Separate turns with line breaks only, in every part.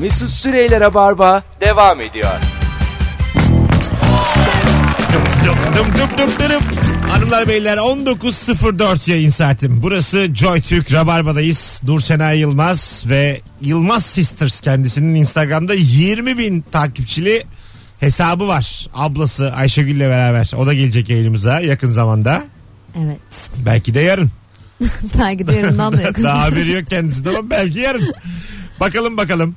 Mesut Süreyler'e barba devam ediyor.
Dım dım dım dım dırım. Hanımlar beyler 19.04 yayın saatim. Burası Joy Türk Rabarba'dayız. Nur Sena Yılmaz ve Yılmaz Sisters kendisinin Instagram'da 20 bin takipçili hesabı var. Ablası Ayşegül'le beraber. O da gelecek yayınımıza yakın zamanda.
Evet.
Belki de yarın.
Belki de yarından da yakın.
Daha haberi yok kendisinden ama belki yarın. Bakalım bakalım.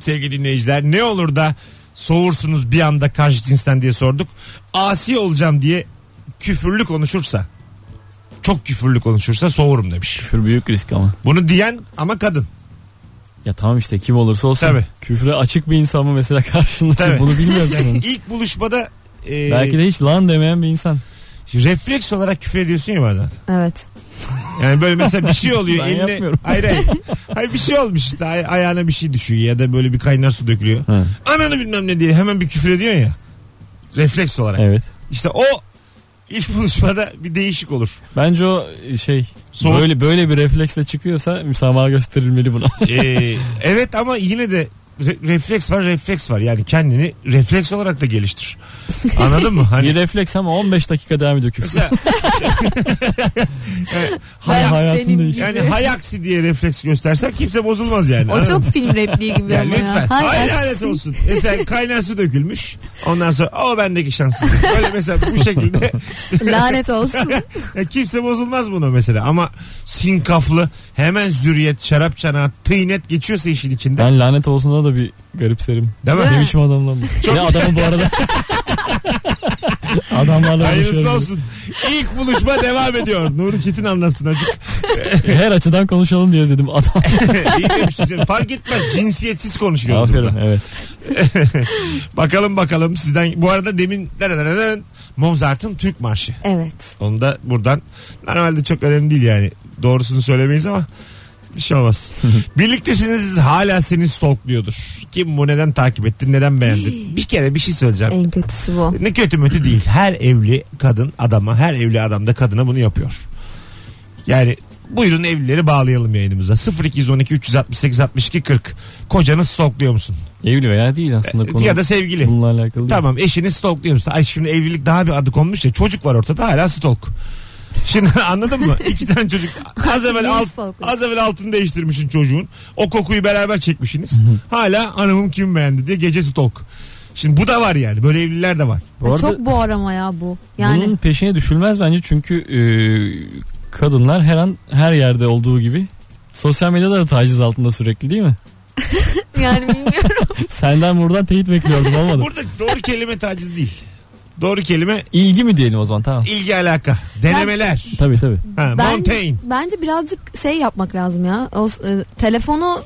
Sevgili dinleyiciler ne olur da soğursunuz bir anda karşı cinsten diye sorduk. Asi olacağım diye küfürlü konuşursa çok küfürlü konuşursa soğurum demiş.
Küfür büyük risk ama.
Bunu diyen ama kadın.
Ya tamam işte kim olursa olsun.
Tabii.
Küfre açık bir insan mı mesela karşında?
Tabii.
Bunu bilmiyorsun.
İlk buluşmada e,
Belki de hiç lan demeyen bir insan.
refleks olarak küfür ediyorsun ya bazen.
Evet.
Yani böyle mesela bir şey oluyor.
Ben
eline,
yapmıyorum.
Hayır hayır. Hayır bir şey olmuş işte ay- ayağına bir şey düşüyor ya da böyle bir kaynar su dökülüyor.
Ha,
Ananı bilmem ne diye hemen bir küfür ediyorsun ya. Refleks olarak.
evet.
İşte o ilk buluşmada bir değişik olur.
Bence o şey
Soğuk.
böyle böyle bir refleksle çıkıyorsa müsamaha gösterilmeli buna.
Ee, evet ama yine de re- refleks var refleks var. Yani kendini refleks olarak da geliştir. Anladın mı?
bir
Hani
refleks ama 15 dakika devam ediyor küfür.
mesela
Ben
hay,
hayatın
senin
değişti.
gibi.
yani hay aksi diye refleks göstersen kimse bozulmaz yani.
o
Anladın
çok
mı?
film repliği gibi
yani
ama
lütfen.
ya. Hay
Hay
aksi.
lanet olsun. Mesela kaynar su dökülmüş. Ondan sonra o bendeki şanssızlık. Böyle mesela bu şekilde
Lanet olsun.
Ya kimse bozulmaz buna mesela ama sinkaflı hemen zürriyet şarap çanağı tıynet geçiyorsa işin içinde
Ben lanet olsun da bir garipserim.
değil mi?
Evet.
Ne biçim adamla mı? Ne adamı bu arada? Adamlarla
Hayırlısı
konuşuyorum.
olsun. İlk buluşma devam ediyor. Nuri Çetin anlatsın azıcık.
E, Her açıdan konuşalım diye dedim adam.
İyi demişsin canım. Fark etmez cinsiyetsiz konuşuyoruz
Aferin
burada.
evet.
Bakalım bakalım sizden. Bu arada demin dararararın Mozart'ın Türk Marşı.
Evet.
Onu da buradan normalde çok önemli değil yani. Doğrusunu söylemeyiz ama bir şey olmaz. Birliktesiniz hala seni stalkluyordur. Kim bu neden takip etti neden beğendi? Bir kere bir şey söyleyeceğim.
En kötüsü bu.
Ne kötü mötü değil. Her evli kadın adama, her evli adam da kadına bunu yapıyor. Yani buyurun evlileri bağlayalım yayınımıza. 0212 368 62 40. Kocanı stalkluyor musun?
Evli veya değil aslında konu.
E, Ya da sevgili.
Bununla alakalı değil.
Tamam eşini stalkluyor musun? Ay şimdi evlilik daha bir adı konmuş ya. Çocuk var ortada hala stalk. Şimdi anladın mı? İki tane çocuk. Az evvel,
Niye
alt,
stalkluyorsun?
az evvel altını değiştirmişsin çocuğun. O kokuyu beraber çekmişsiniz. Hala hanımım kim beğendi diye gece stalk. Şimdi bu da var yani. Böyle evliler de var.
Bu arada-
E, Çok bu arama ya bu. Yani
Bunun peşine düşülmez bence çünkü e, kadınlar her an her yerde olduğu gibi sosyal medyada da taciz altında sürekli değil mi?
yani bilmiyorum.
Senden buradan teyit bekliyordum olmadı.
Burada doğru kelime taciz değil. Doğru kelime
İlgi mi diyelim o zaman tamam.
ilgi alaka. Denemeler.
Tabii tabii.
Ha,
Ben-
Montaigne.
Bence birazcık şey yapmak lazım ya. O, e, telefonu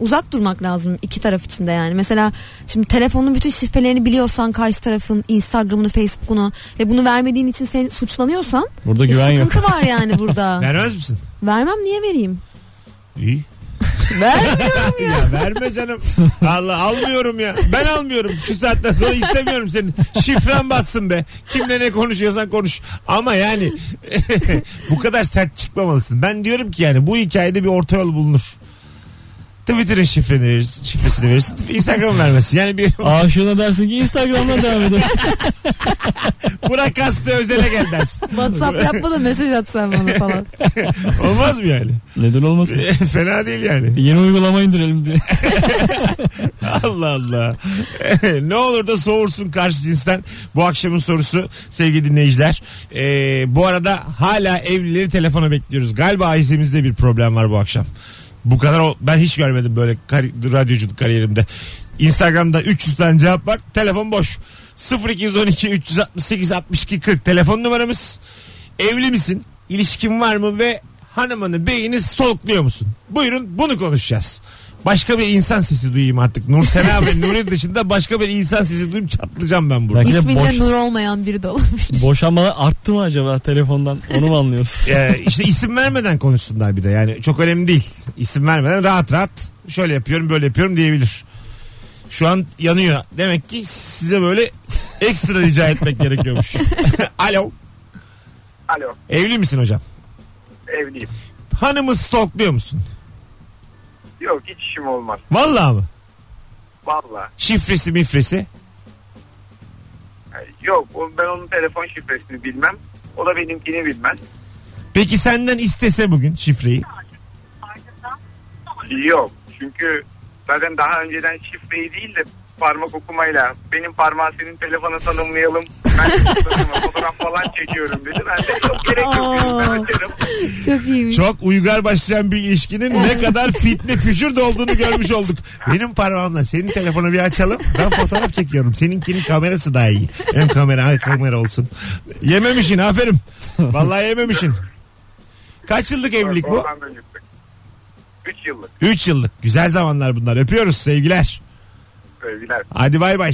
uzak durmak lazım iki taraf için de yani. Mesela şimdi telefonun bütün şifrelerini biliyorsan karşı tarafın Instagram'ını, Facebook'unu ve bunu vermediğin için sen suçlanıyorsan
Burada
bir
güven yok.
sıkıntı var yani burada.
Vermez misin?
Vermem niye vereyim?
İyi.
Ver.
Ya verme canım. Allah almıyorum ya. Ben almıyorum. Şu saatten sonra istemiyorum senin. Şifren batsın be. Kimle ne konuşuyorsan konuş. Ama yani bu kadar sert çıkmamalısın. Ben diyorum ki yani bu hikayede bir orta yol bulunur. Twitter'ın şifreni verirsin, şifresini verirsin. Instagram vermesin. Yani bir
Aşığına dersin ki Instagram'dan devam edin.
Burak Aslı özele gel dersin.
WhatsApp yapma da mesaj atsan bana falan.
Olmaz mı yani?
Neden olmasın?
Fena değil yani.
Yeni uygulama indirelim diye.
Allah Allah. ne olur da soğursun karşı cinsten. Bu akşamın sorusu sevgili dinleyiciler. Ee, bu arada hala evlileri telefona bekliyoruz. Galiba ailemizde bir problem var bu akşam. Bu kadar o- ben hiç görmedim böyle kari- radyoculuk kariyerimde. Instagram'da 300 tane cevap var. Telefon boş. 0212 368 62 40 telefon numaramız. Evli misin? İlişkin var mı ve hanımını beyni stalkluyor musun? Buyurun bunu konuşacağız. Başka bir insan sesi duyayım artık. Nur Sena ve Nuri dışında başka bir insan sesi duyayım çatlayacağım ben burada.
Belki de
İsminde
boş,
nur olmayan biri de olabilir.
boşanmalar arttı mı acaba telefondan? Onu mu anlıyoruz?
Ee, işte isim vermeden konuşsunlar bir de yani çok önemli değil. İsim vermeden rahat rahat şöyle yapıyorum böyle yapıyorum diyebilir. Şu an yanıyor. Demek ki size böyle ekstra rica etmek gerekiyormuş. Alo.
Alo
Evli misin hocam?
evliyim.
Hanımı stalkluyor musun?
Yok hiç işim olmaz.
Vallahi mı?
Valla.
Şifresi mifresi.
Yani Yok o- ben onun telefon şifresini bilmem. O da benimkini bilmez.
Peki senden istese bugün şifreyi.
Yok. Çünkü zaten daha önceden şifreyi değil de parmak okumayla benim parmağı senin telefona tanımlayalım. Ben seni tanımam, fotoğraf falan çekiyorum dedi. Ben de yok gerek yok dedim, ben açarım.
Çok iyiymiş.
Çok uygar başlayan bir ilişkinin ne kadar fitne fücur da olduğunu görmüş olduk. Benim parmağımla senin telefonu bir açalım. Ben fotoğraf çekiyorum. Seninkinin kamerası daha iyi. Hem kamera hem kamera olsun. Yememişin aferin. Vallahi yememişin. Kaç yıllık evlilik bu?
Oradan da gittik. Üç yıllık
3 yıllık. Güzel zamanlar bunlar. Öpüyoruz sevgiler.
sevgiler.
Hadi bay bay.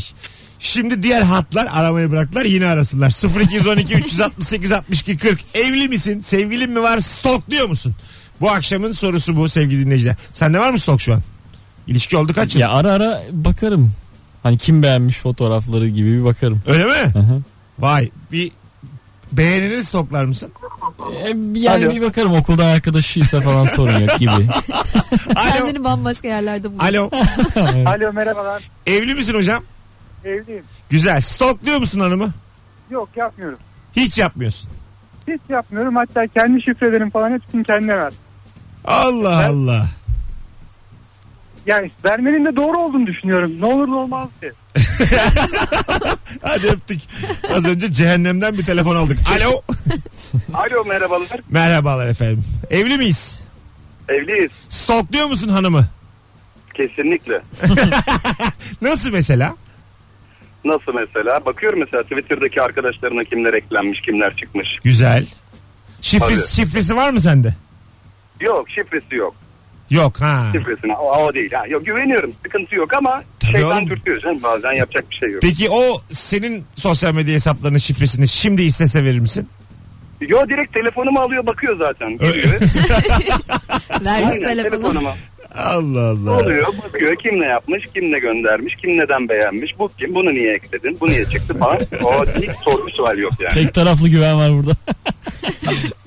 Şimdi diğer hatlar aramayı bıraktılar yine arasınlar. 0212 368 62 40. Evli misin? Sevgilin mi var? Stalkluyor musun? Bu akşamın sorusu bu sevgili dinleyiciler. Sende var mı stalk şu an? İlişki oldu kaç yıl?
Ya ara ara bakarım. Hani kim beğenmiş fotoğrafları gibi bir bakarım.
Öyle mi?
Hı hı.
Vay bir beğenini stoklar mısın?
E, yani bir bakarım okuldan arkadaşıysa falan sorun yok gibi.
Alo.
Kendini bambaşka yerlerde buluyor.
Alo.
Alo merhabalar.
Evli misin hocam?
Evliyim.
Güzel. Stalkluyor musun hanımı?
Yok yapmıyorum.
Hiç yapmıyorsun.
Hiç yapmıyorum. Hatta kendi şifrelerim falan hepsini kendine ver.
Allah Allah.
Yani vermenin de doğru olduğunu düşünüyorum. Ne olur ne olmaz diye.
Hadi öptük. Az önce cehennemden bir telefon aldık. Alo.
Alo merhabalar.
Merhabalar efendim. Evli miyiz?
Evliyiz.
Stalkluyor musun hanımı?
Kesinlikle.
Nasıl mesela?
Nasıl mesela? Bakıyorum mesela Twitter'daki arkadaşlarına kimler eklenmiş, kimler çıkmış.
Güzel. Şifresi,
Tabii.
şifresi var mı sende?
Yok şifresi yok.
Yok ha.
Şifresini o, o değil. Ha, yok, güveniyorum sıkıntı yok ama
Tabii
şeytan
oğlum.
dürtüyor canım. Bazen yapacak bir şey yok.
Peki o senin sosyal medya hesaplarının şifresini şimdi istese verir misin?
Yo direkt telefonumu alıyor bakıyor zaten. Geliyor.
Ver
Aynen
bir telefonu.
telefonuma.
Allah Allah.
Oluyor bakıyor kim ne yapmış, kim ne göndermiş, kim neden beğenmiş, bu kim, bunu niye ekledin, bu niye çıktı falan. O hiç sorgu sual yok yani.
Tek taraflı güven var burada.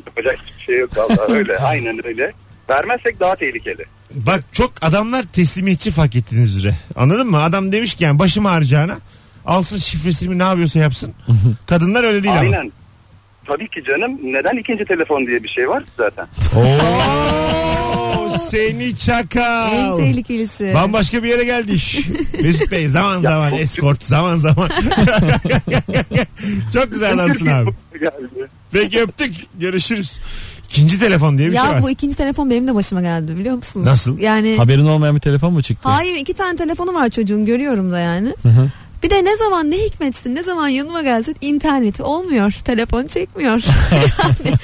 Yapacak hiçbir şey yok valla öyle. Aynen öyle. Vermezsek daha tehlikeli.
Bak çok adamlar teslimiyetçi fark ettiğiniz üzere. Anladın mı? Adam demiş ki yani başım ağrıcağına alsın şifresini ne yapıyorsa yapsın. Kadınlar öyle değil ama.
Aynen. Tabii ki canım. Neden ikinci telefon diye bir şey var ki zaten?
Oo, seni
En
çakal.
tehlikelisi.
Bambaşka bir yere geldi iş. Mesut Bey zaman zaman
çok-
eskort zaman zaman. çok güzel adamsın abi.
Geldi.
Peki öptük. Görüşürüz. İkinci telefon diye bir şey
ya
var.
bu ikinci telefon benim de başıma geldi biliyor musunuz?
Nasıl?
Yani
Haberin olmayan bir telefon mu çıktı?
hayır iki tane telefonu var çocuğun görüyorum da yani.
Hı hı.
Bir de ne zaman ne hikmetsin ne zaman yanıma gelsin interneti olmuyor. Telefon çekmiyor.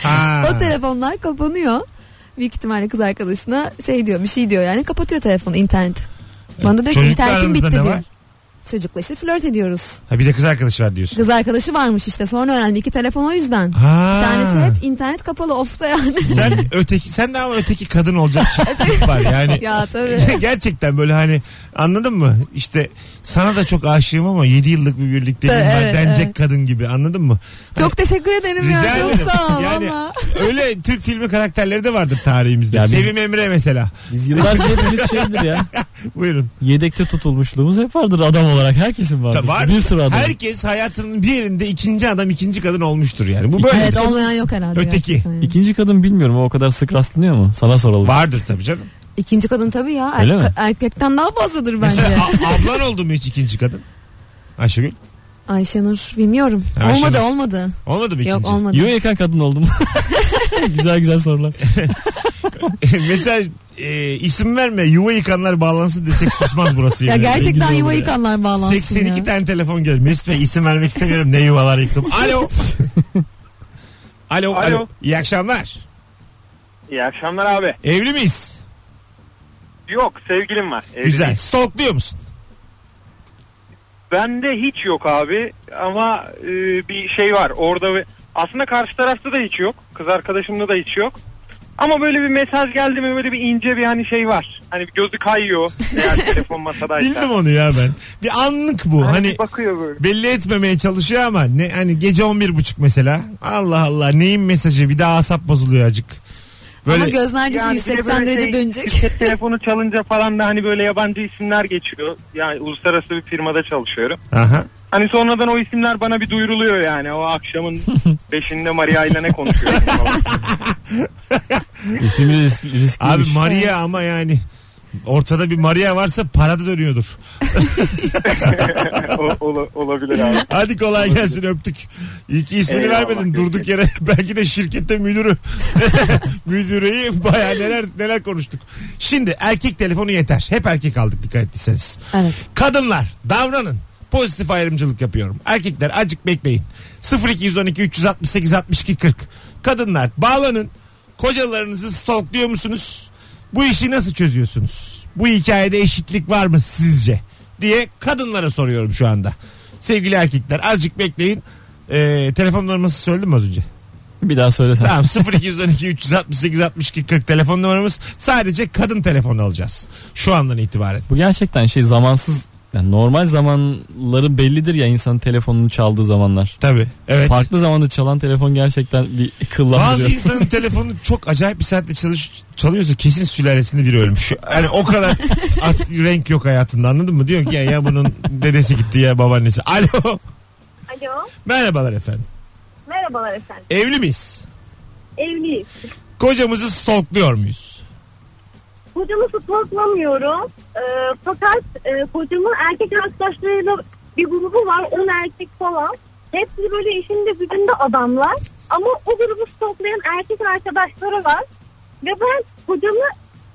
Ha.
o telefonlar kapanıyor. Büyük ihtimalle kız arkadaşına şey diyor bir şey diyor yani kapatıyor telefonu internet. Bana da diyor ki
E, Çocukla
internetim
aranızda
bitti
ne
diyor.
var?
Çocukla işte flört ediyoruz.
Ha, bir de kız arkadaşı var diyorsun.
Kız arkadaşı varmış işte sonra öğrendim iki telefon o yüzden.
Ha.
Bir tanesi hep internet kapalı ofta yani.
Sen öteki sen de ama öteki kadın olacak çiftlik var Şey, yani.
ya tabii.
Gerçekten böyle hani anladın mı? İşte sana da çok aşığım ama 7 yıllık bir birlikteliğim
Evet,
var
evet.
denecek kadın gibi anladın mı?
Çok teşekkür ederim
Rica
ya. Çok
ederim.
sağ ol
Yani-
valla.
Öyle Türk filmi karakterleri de vardır tarihimizde.
Ya biz-
Sevim Emre mesela.
Biz yıllarca hepimiz şeydir ya.
Buyurun.
Yedekte tutulmuşluğumuz hep vardır adam olarak. Herkesin vardır.
Ta- var.
Bir sürü adam.
Herkes hayatının bir yerinde ikinci adam ikinci kadın olmuştur yani. Bu
İkinci-
böyle.
Evet olmayan yok herhalde.
Öteki.
gerçekten yani.
İkinci kadın bilmiyorum o kadar sık rastlanıyor mu? Sana soralım.
Vardır tabii canım.
İkinci kadın tabii ya.
Öyle mi?
Erkekten daha fazladır bence.
Mesela a- ablan oldu mu hiç ikinci kadın? Ayşegül.
Ayşenur bilmiyorum.
Ayşenur.
Olmadı olmadı.
Olmadı mı
Yok
ikinci?
olmadı.
Yo yakan kadın oldum. güzel güzel sorular.
Mesela e, isim verme yuva yıkanlar bağlansın desek susmaz burası.
ya
yemin ederim.
gerçekten
Güzel
yuva
oldu ya.
yıkanlar bağlansın
82
ya.
tane telefon geldi. Mesut Bey isim vermek istemiyorum. Ne yuvalar yıktım. Alo. alo. Alo.
Alo.
İyi akşamlar.
İyi akşamlar abi.
Evli miyiz?
Yok sevgilim var. Ee, Evli
Güzel.
değil.
Stalkluyor musun?
Bende hiç yok abi ama e, bir şey var orada ve- aslında karşı tarafta da hiç yok. Kız arkadaşımda da hiç yok. Ama böyle bir mesaj geldi mi böyle bir ince bir hani şey var. Hani bir gözü kayıyor eğer telefon masadaysa.
Bildim onu ya ben. Bir anlık bu.
Hani,
Hani
bir bakıyor böyle.
belli etmemeye çalışıyor ama ne hani gece 11 buçuk mesela. Allah Allah neyin mesajı bir daha asap bozuluyor acık. Böyle
Ama göz neredeyse
Yani bir de
180
böyle
derece
şey,
dönecek.
Cep telefonu çalınca falan da hani böyle yabancı isimler geçiyor. Yani uluslararası bir firmada çalışıyorum.
Aha.
Hani sonradan o isimler bana bir duyuruluyor yani. O akşamın beşinde Maria ile ne konuşuyorsun falan.
İsim risk, riskli
Abi
bir şey.
Maria ama yani ortada bir Maria varsa parada dönüyordur.
O- ola- olabilir abi.
Hadi kolay gelsin öptük. İyi ki ismini
Eyvallah,
vermedin
görüşürüz.
durduk yere. Belki de şirkette müdürü. Müdüreyi baya neler neler konuştuk. Şimdi erkek telefonu yeter. Hep erkek aldık dikkat ettiyseniz.
Evet.
Kadınlar davranın. Pozitif ayrımcılık yapıyorum. Erkekler acık bekleyin. 0212 368 62 40. Kadınlar bağlanın. Kocalarınızı stalkluyor musunuz? Bu işi nasıl çözüyorsunuz? Bu hikayede eşitlik var mı sizce? Diye kadınlara soruyorum şu anda. Sevgili erkekler azıcık bekleyin. Ee, telefon numarası söyledim mi az önce?
şey. Bir daha söylesene.
Tamam 0212 368 62 40 telefon numaramız. Sadece kadın telefonu alacağız. Şu andan itibaren.
Bu gerçekten şey zamansız yani normal zamanları bellidir ya insanın telefonunu çaldığı zamanlar.
Tabii. Evet.
Farklı zamanda çalan telefon gerçekten bir
Bazı
kıllandırıyor.
insanın telefonu çok acayip bir saatte çalış, çalıyorsa kesin sülalesinde biri ölmüş. Yani o kadar at- renk yok hayatında anladın mı? Diyor ki ya, ya bunun dedesi gitti ya babaannesi. Alo.
Alo.
Merhabalar efendim.
Merhabalar efendim.
Evli miyiz?
Evliyiz.
Kocamızı stalkluyor muyuz?
Kocamı stalklamıyorum. Ee, fakat e, kocamın erkek arkadaşlarıyla bir grubu var. 10 erkek falan. Hepsi böyle işinde gücünde adamlar. Ama o grubu stalklayan erkek arkadaşları var. Ve ben kocamı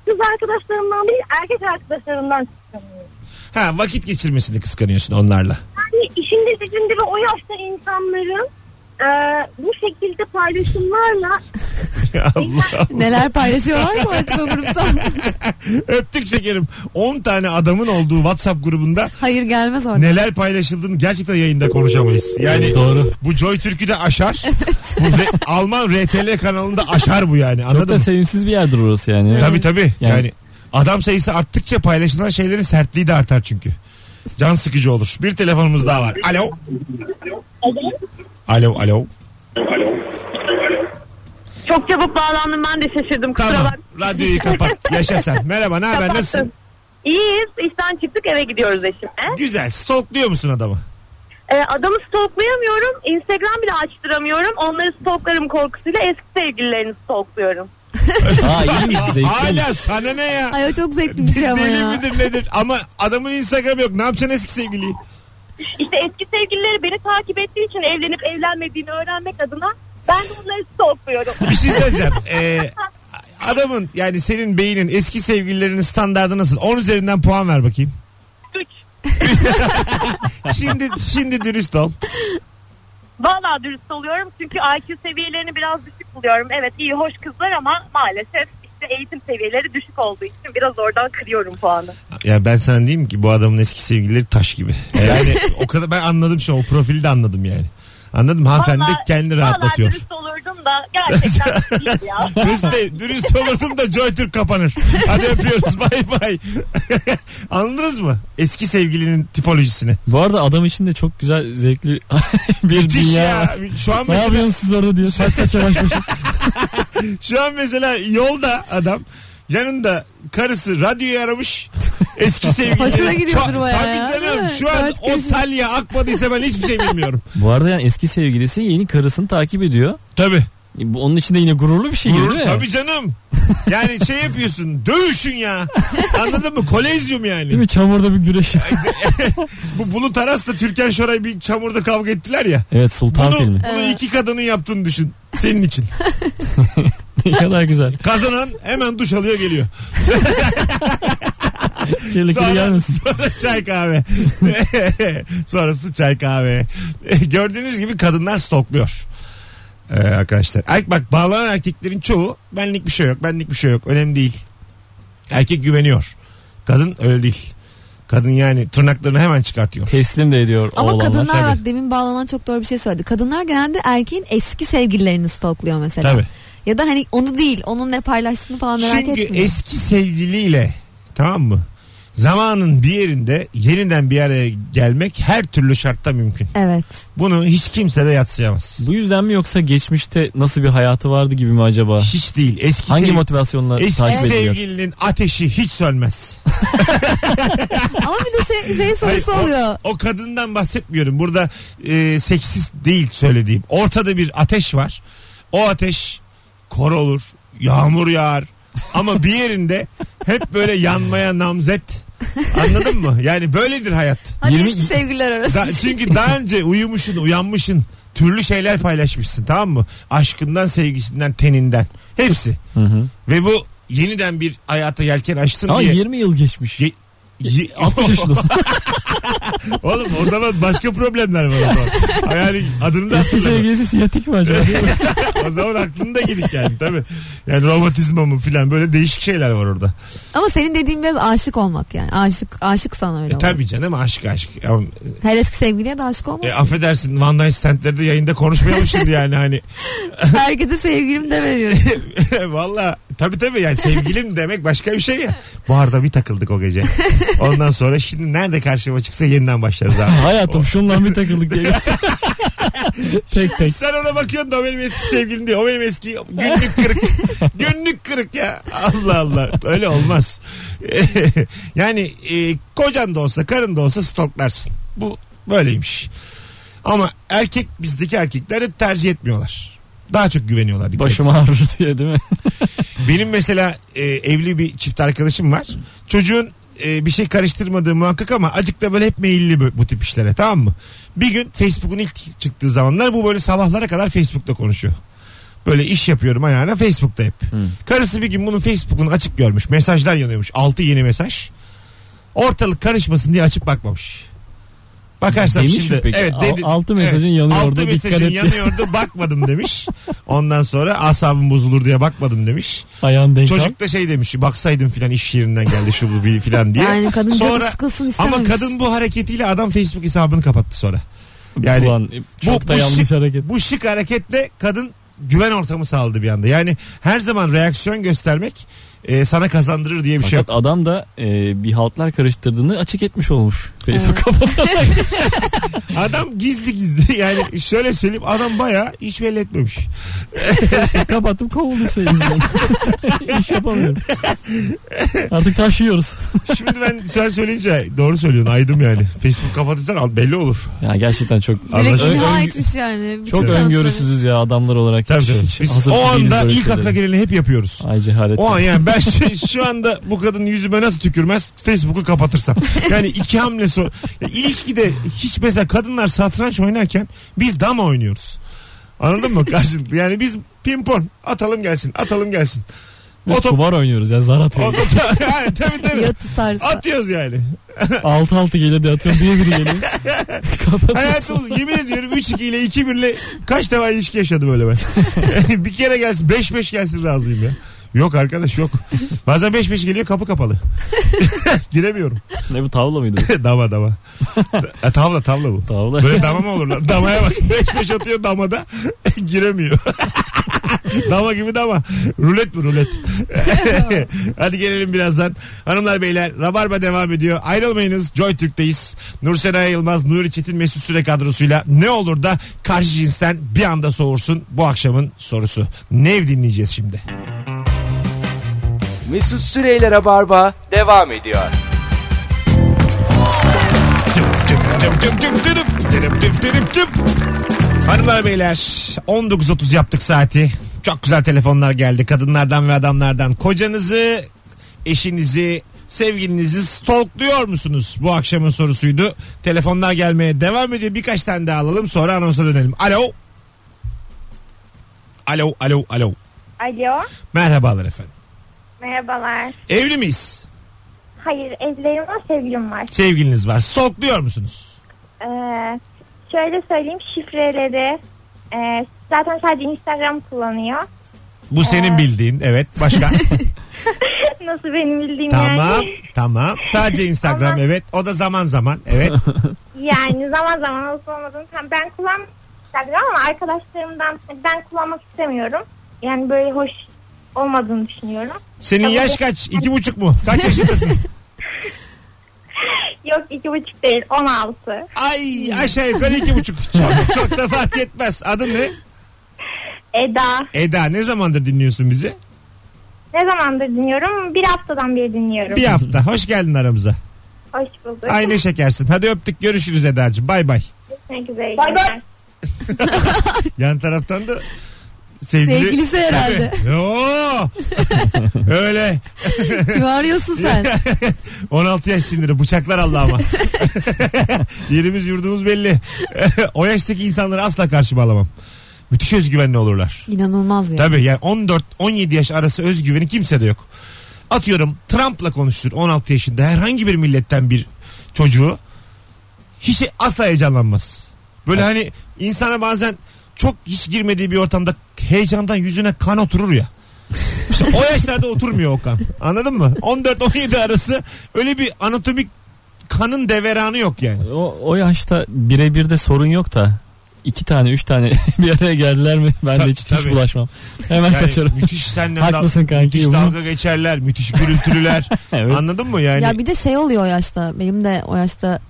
kız arkadaşlarımdan değil erkek arkadaşlarımdan kıskanıyorum.
Ha vakit geçirmesini kıskanıyorsun onlarla.
Yani işinde gücünde ve o yaşta insanların e, bu şekilde paylaşımlarla
Allah.
Neler paylaşıyorlar mı artık o grupta?
Öptük şekerim. 10 tane adamın olduğu WhatsApp grubunda
Hayır gelmez orada.
neler paylaşıldığını gerçekten yayında konuşamayız. Yani
Doğru.
bu Joy Türk'ü de aşar. Bu re- Alman RTL kanalında aşar bu yani.
Çok
Anladın
da
mı?
sevimsiz bir yerdir orası yani.
Tabii tabii. Yani.
Yani-
adam sayısı arttıkça paylaşılan şeylerin sertliği de artar çünkü. Can sıkıcı olur. Bir telefonumuz daha var. Alo. Alo alo.
Çok çabuk bağlandım ben de şaşırdım kusura
Tamam.
bak.
Radyoyu kapat. Yaşa sen. Merhaba ne haber
Kapattım.
nasılsın?
İyiyiz işten çıktık eve gidiyoruz eşimle.
Güzel. Stalkluyor musun adamı?
Ee, adamı stalklayamıyorum instagram bile açtıramıyorum. Onları stalklarım korkusuyla eski sevgililerini stalkluyorum.
Aa iyiymiş zevkli.
Hala sana ne ya?
Ay o çok zevkli bir şey ama
Deli
ya.
midir nedir? Ama adamın Instagram yok. Ne yapacaksın eski sevgiliyi?
İşte eski sevgilileri beni takip ettiği için evlenip evlenmediğini öğrenmek adına ben de onları stalkluyorum.
Bir şey söyleyeceğim. Ee, adamın yani senin beynin eski sevgililerinin standardı nasıl? 10 üzerinden puan ver bakayım.
Üç.
Şimdi şimdi dürüst ol.
Valla dürüst oluyorum çünkü IQ seviyelerini biraz düşük buluyorum. Evet iyi hoş kızlar ama maalesef işte eğitim seviyeleri düşük olduğu için biraz oradan kırıyorum puanı.
Ya ben sana diyeyim ki bu adamın eski sevgilileri taş gibi. Yani o kadar ben anladım şu an o profili de anladım yani. Anladım hanımefendi
Vallahi-
kendini
Valla
rahatlatıyor.
dürüst olurdum da gerçekten değil ya.
Dürüst, de, dürüst olurdun da JoyTürk kapanır. Hadi öpüyoruz bay bay. Anladınız mı? Eski sevgilinin tipolojisini.
Bu arada adam için de çok güzel zevkli bir
Müthiş
dünya. var.
ya. Şu an
Ne
mesela
yapıyorsun siz orada diyor. Saç saça baş başa.
Şu an mesela yolda adam yanında karısı radyoyu aramış. Eski sevgili.
Hoşuna gidiyordur bayağı ya,
Tabii canım
değil mi?
şu an
Kaç
o
kez-
salya akmadıysa ben hiçbir şey bilmiyorum.
Bu arada yani eski sevgilisi yeni karısını takip ediyor.
Tabii.
E, bu- Onun için de yine gururlu bir şey
Gurur,
değil mi?
tabii canım. Yani şey yapıyorsun dövüşün ya. Anladın mı? Kolezyum
Değil
yani.
mi? Çamurda bir güreş.
Bu Bulut Aras'la Türkan Şoray bir çamurda kavga ettiler ya.
evet Sultan
Bunu,
filmi.
bunu iki kadının yaptığını düşün. Senin için.
ne kadar güzel.
Kazanan hemen duş alıyor geliyor.
Kirli kirli gelmesin.
sonra çay kahve. Sonrası çay kahve. Gördüğünüz gibi kadınlar stokluyor. Ee, arkadaşlar. Erk, bak bağlanan erkeklerin çoğu benlik bir şey yok. Benlik bir şey yok. Önemli değil. Erkek güveniyor. Kadın öyle değil. Kadın yani tırnaklarını hemen çıkartıyor.
Teslim de ediyor
Ama
oğlanlar.
kadınlar
tabii.
bak demin bağlanan çok doğru bir şey söyledi. Kadınlar genelde erkeğin eski sevgililerini stalkluyor mesela.
Tabii.
Ya da hani onu değil onun ne paylaştığını falan merak
Çünkü
etmiyor.
eski sevgiliyle tamam mı? zamanın bir yerinde yeniden bir araya gelmek her türlü şartta mümkün.
Evet.
Bunu hiç kimse de yatsıyamaz.
Bu yüzden mi yoksa geçmişte nasıl bir hayatı vardı gibi mi acaba?
Hiç değil. Eski
Hangi
sev-
motivasyonla
Eski
takip ediliyor?
sevgilinin ateşi hiç sönmez.
Ama bir de şey, şey sorusu
Hayır, o-
oluyor.
O, kadından bahsetmiyorum. Burada e, seksist değil söylediğim. Ortada bir ateş var. O ateş kor olur, yağmur yağar. Ama bir yerinde hep böyle yanmaya namzet. Anladın mı? Yani böyledir hayat.
Hani
Yirmi-
eski sevgililer arası.
Da- çünkü daha önce uyumuşsun, uyanmışsın. Türlü şeyler paylaşmışsın tamam mı? Aşkından, sevgisinden, teninden. Hepsi.
Hı hı.
Ve bu yeniden bir hayata yelken açtın
Ama
diye.
20 yıl geçmiş.
Ye- Ye-
60 yaşındasın.
Oğlum o zaman başka problemler var o zaman. Yani adını da
Eski
hatırlamıyorum.
sevgilisi siyatik mi acaba?
o zaman aklında gidik yani tabii. Yani romatizma mı filan böyle değişik şeyler var orada.
Ama senin dediğin biraz aşık olmak yani. Aşık aşık sana öyle
E,
olur.
tabii canım aşk aşk. Ama,
Her eski sevgiliye de aşık olmaz.
e, affedersin Van Dyne standlerde yayında konuşmayalım şimdi yani hani.
Herkese sevgilim de veriyorum.
Valla tabii tabii yani sevgilim demek başka bir şey ya. Bu arada bir takıldık o gece. Ondan sonra şimdi nerede karşıma çıksa yeniden başlarız abi.
Hayatım şunla bir takıldık diye göster. tek tek.
Sen ona bakıyorsun da o benim eski sevgilim diyor. O benim eski günlük kırık. günlük kırık ya. Allah Allah. Öyle olmaz. yani e, kocan da olsa karın da olsa stalklarsın. Bu böyleymiş. Ama erkek bizdeki erkekleri tercih etmiyorlar. Daha çok güveniyorlar. dikkat
Başım
etsene.
ağrır diye değil mi?
Benim mesela e, evli bir çift arkadaşım var. Çocuğun e, bir şey karıştırmadığı muhakkak ama acık da böyle hep meyilli bu, bu tip işlere tamam mı? Bir gün Facebook'un ilk çıktığı zamanlar bu böyle sabahlara kadar Facebook'ta konuşuyor. Böyle iş yapıyorum ayağına Facebook'ta hep. Karısı bir gün bunun Facebook'unu açık görmüş. Mesajlar yanıyormuş. 6 yeni mesaj. Ortalık karışmasın diye açıp bakmamış. Bakarsam
Demiş mi
şimdi.
peki?
Evet,
Al- altı mesajın yanıyordu,
Altı
dikkat
mesajın
et.
yanıyordu bakmadım demiş. Ondan sonra asabım bozulur diye bakmadım demiş.
Ayağın denk al.
Çocuk da şey demiş baksaydım filan iş yerinden geldi şu bu bir filan diye.
Yani kadın canı
Sonra-
sıkılsın istememiş.
Ama kadın bu hareketiyle adam Facebook hesabını kapattı sonra. Yani
Ulan, çok
bu-
da
bu
yanlış
şık-
hareket.
bu şık hareketle kadın güven ortamı sağladı bir anda. Yani her zaman reaksiyon göstermek e, sana kazandırır diye bir şey
Fakat
yok.
adam da e, bir haltlar karıştırdığını açık etmiş olmuş. Facebook kapatarak.
Adam gizli gizli yani şöyle söyleyeyim adam bayağı hiç belli etmemiş.
Facebook kapattım kovuldum senin yüzünden. İş yapamıyorum. Artık taşıyoruz.
Şimdi ben sen söyleyince doğru söylüyorsun aydım yani. Facebook kapatırsan al- belli olur.
Ya gerçekten çok
Direkt
Ö-
imha
ö-
etmiş yani. Bütün
çok
tarafları.
öngörüsüzüz ya adamlar olarak.
Tabii tabii.
Hiç
Biz
hazır
o
değiliz
anda
böyle
ilk
şeylere.
akla geleni hep yapıyoruz.
Ay cehalet.
O an yani ben şu, şu anda bu kadının yüzüme nasıl tükürmez Facebook'u kapatırsam. Yani iki hamle sonra. ilişkide hiç mesela kadınlar satranç oynarken biz dama oynuyoruz. Anladın mı karşılıklı? Yani biz pimpon atalım gelsin atalım gelsin.
Biz
O top-
kumar oynuyoruz ya zar
O,
atıyoruz.
yani tabii tabii.
Ya tutarsa.
Atıyoruz yani.
altı altı gelir de atıyorum diye biri geliyor.
Hayatım yemin ediyorum 3-2 ile 2-1 ile kaç defa ilişki yaşadım öyle ben. bir kere gelsin 5-5 gelsin razıyım ya. Yok arkadaş yok. Bazen 5-5 geliyor kapı kapalı. Giremiyorum.
ne bu tavla mıydı?
dama dama. E, tavla tavla bu.
Tavla.
Böyle dama mı olur lan? Damaya bak. Beş beş atıyor damada. Giremiyor. dama gibi dama. Rulet mi rulet? Hadi gelelim birazdan. Hanımlar beyler Rabarba devam ediyor. Ayrılmayınız. Joy Türk'teyiz. Nursena Yılmaz, Nuri Çetin Mesut Süre kadrosuyla ne olur da karşı cinsten bir anda soğursun bu akşamın sorusu. Nev dinleyeceğiz şimdi.
Mesut Süreyler'e barba devam ediyor.
Tüp, tüp, tüp, tüp, tüp, tüp, tüp, tüp, tüp, tüp. Hanımlar beyler 19.30 yaptık saati. Çok güzel telefonlar geldi kadınlardan ve adamlardan. Kocanızı, eşinizi, sevgilinizi stalkluyor musunuz? Bu akşamın sorusuydu. Telefonlar gelmeye devam ediyor. Birkaç tane daha alalım sonra anonsa dönelim. Alo. Alo, alo, alo.
Alo.
Merhabalar efendim.
Merhabalar.
Evli miyiz?
Hayır evlerim var sevgilim var.
Sevgiliniz var. Stalkluyor musunuz?
Ee, şöyle söyleyeyim şifreleri e, zaten sadece Instagram kullanıyor.
Bu senin bildiğin. Evet. Başka?
Nasıl benim bildiğim
Tamam
yani.
tamam. Sadece Instagram
Ama-
evet. O da zaman zaman evet.
Yani zaman zaman olsun olmadığını tam ben kullan Instagram ama arkadaşlarımdan ben kullanmak istemiyorum. Yani böyle hoş olmadığını düşünüyorum.
Senin yaş kaç? İki buçuk mu? Kaç yaşındasın?
iki buçuk değil 16.
Ay aşağı yukarı iki buçuk. Çok, çok da fark etmez. Adın ne?
Eda.
Eda ne zamandır dinliyorsun bizi?
Ne zamandır dinliyorum? Bir haftadan beri dinliyorum.
Bir hafta. Hoş geldin aramıza.
Hoş bulduk.
Ay ne şekersin. Hadi öptük görüşürüz Eda'cığım. Bay bay.
Görüşmek üzere.
Bay bay.
Yan taraftan da sevgili...
Sevgilisi herhalde.
Tabii. Oo! Öyle.
Kimi arıyorsun sen?
16 yaş siniri bıçaklar Allah'ıma. Yerimiz yurdumuz belli. o yaştaki insanları asla karşıma alamam. Müthiş özgüvenli olurlar.
İnanılmaz ya.
Tabii yani 14-17 yaş arası özgüveni kimse de yok. Atıyorum Trump'la konuştur 16 yaşında herhangi bir milletten bir çocuğu. Hiç asla heyecanlanmaz. Böyle hani insana bazen çok hiç girmediği bir ortamda heyecandan yüzüne kan oturur ya. İşte o yaşlarda oturmuyor o kan. Anladın mı? 14-17 arası öyle bir anatomik kanın deveranı yok yani.
O, o yaşta birebir de sorun yok da iki tane üç tane bir araya geldiler mi ben
Ta-
de hiç, hiç
tabii.
bulaşmam. Hemen
Yani
kaçarım.
müthiş senden dal-
Haklısın kanki.
müthiş
bu-
dalga geçerler, müthiş gürültülüler.
Evet.
Anladın mı yani?
Ya bir de şey oluyor o yaşta. Benim de o yaşta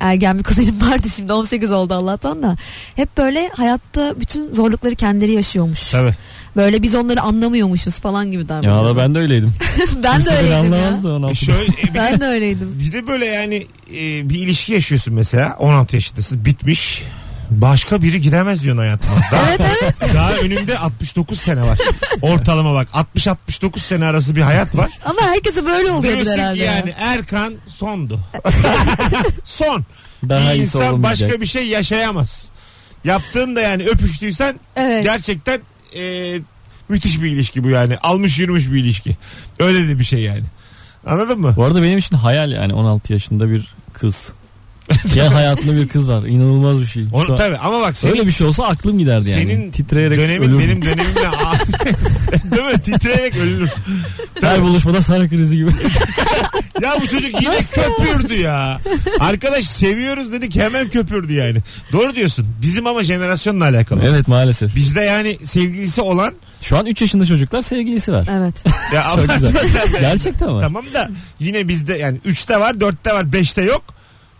ergen bir kuzenim vardı şimdi 18 oldu Allah'tan da. Hep böyle hayatta bütün zorlukları kendileri yaşıyormuş.
Tabii.
Böyle biz onları anlamıyormuşuz falan gibi davranıyor.
Ya da ben de öyleydim.
ben de
Kimse beni
öyleydim ya.
anlamazdı 16'da.
Şöyle e, bir,
Ben de öyleydim.
bir de böyle yani e, bir ilişki yaşıyorsun mesela 16 yaşındasın bitmiş. Başka biri giremez diyorsun hayatıma. Daha, daha önümde 69 sene var. Ortalama bak 60-69 sene arası bir hayat var.
Ama herkese böyle oluyordu
Diyorsun ki
herhalde.
yani Erkan sondu. Son.
Daha
bir
iyisi
insan
olmayacak.
başka bir şey yaşayamaz. Yaptığın da yani öpüştüysen
Evet.
gerçekten e, müthiş bir ilişki bu yani. Almış yürümüş bir ilişki. Öyle de bir şey yani. Anladın mı?
Bu arada benim için hayal yani 16 yaşında bir kız. ya hayatında bir kız var. İnanılmaz bir şey. Şu
Onu,
an-
tabii ama bak senin,
Öyle bir şey olsa aklım giderdi yani.
senin
Titreyerek
dönemin
ölürdüm.
benim dönemimle değil mi? Titreyerek ölür.
Her buluşmada sarı krizi gibi.
Ya bu çocuk yine köpürdü ya. Arkadaş seviyoruz dedik hemen köpürdü yani. Doğru diyorsun. Bizim ama jenerasyonla alakalı.
evet maalesef.
Bizde yani sevgilisi olan
Şu an 3 yaşında çocuklar sevgilisi var.
Evet.
ya
Çok güzel.
abartmadan-
Gerçekten var.
Tamam da yine bizde yani 3'te var, 4'te var, 5'te yok.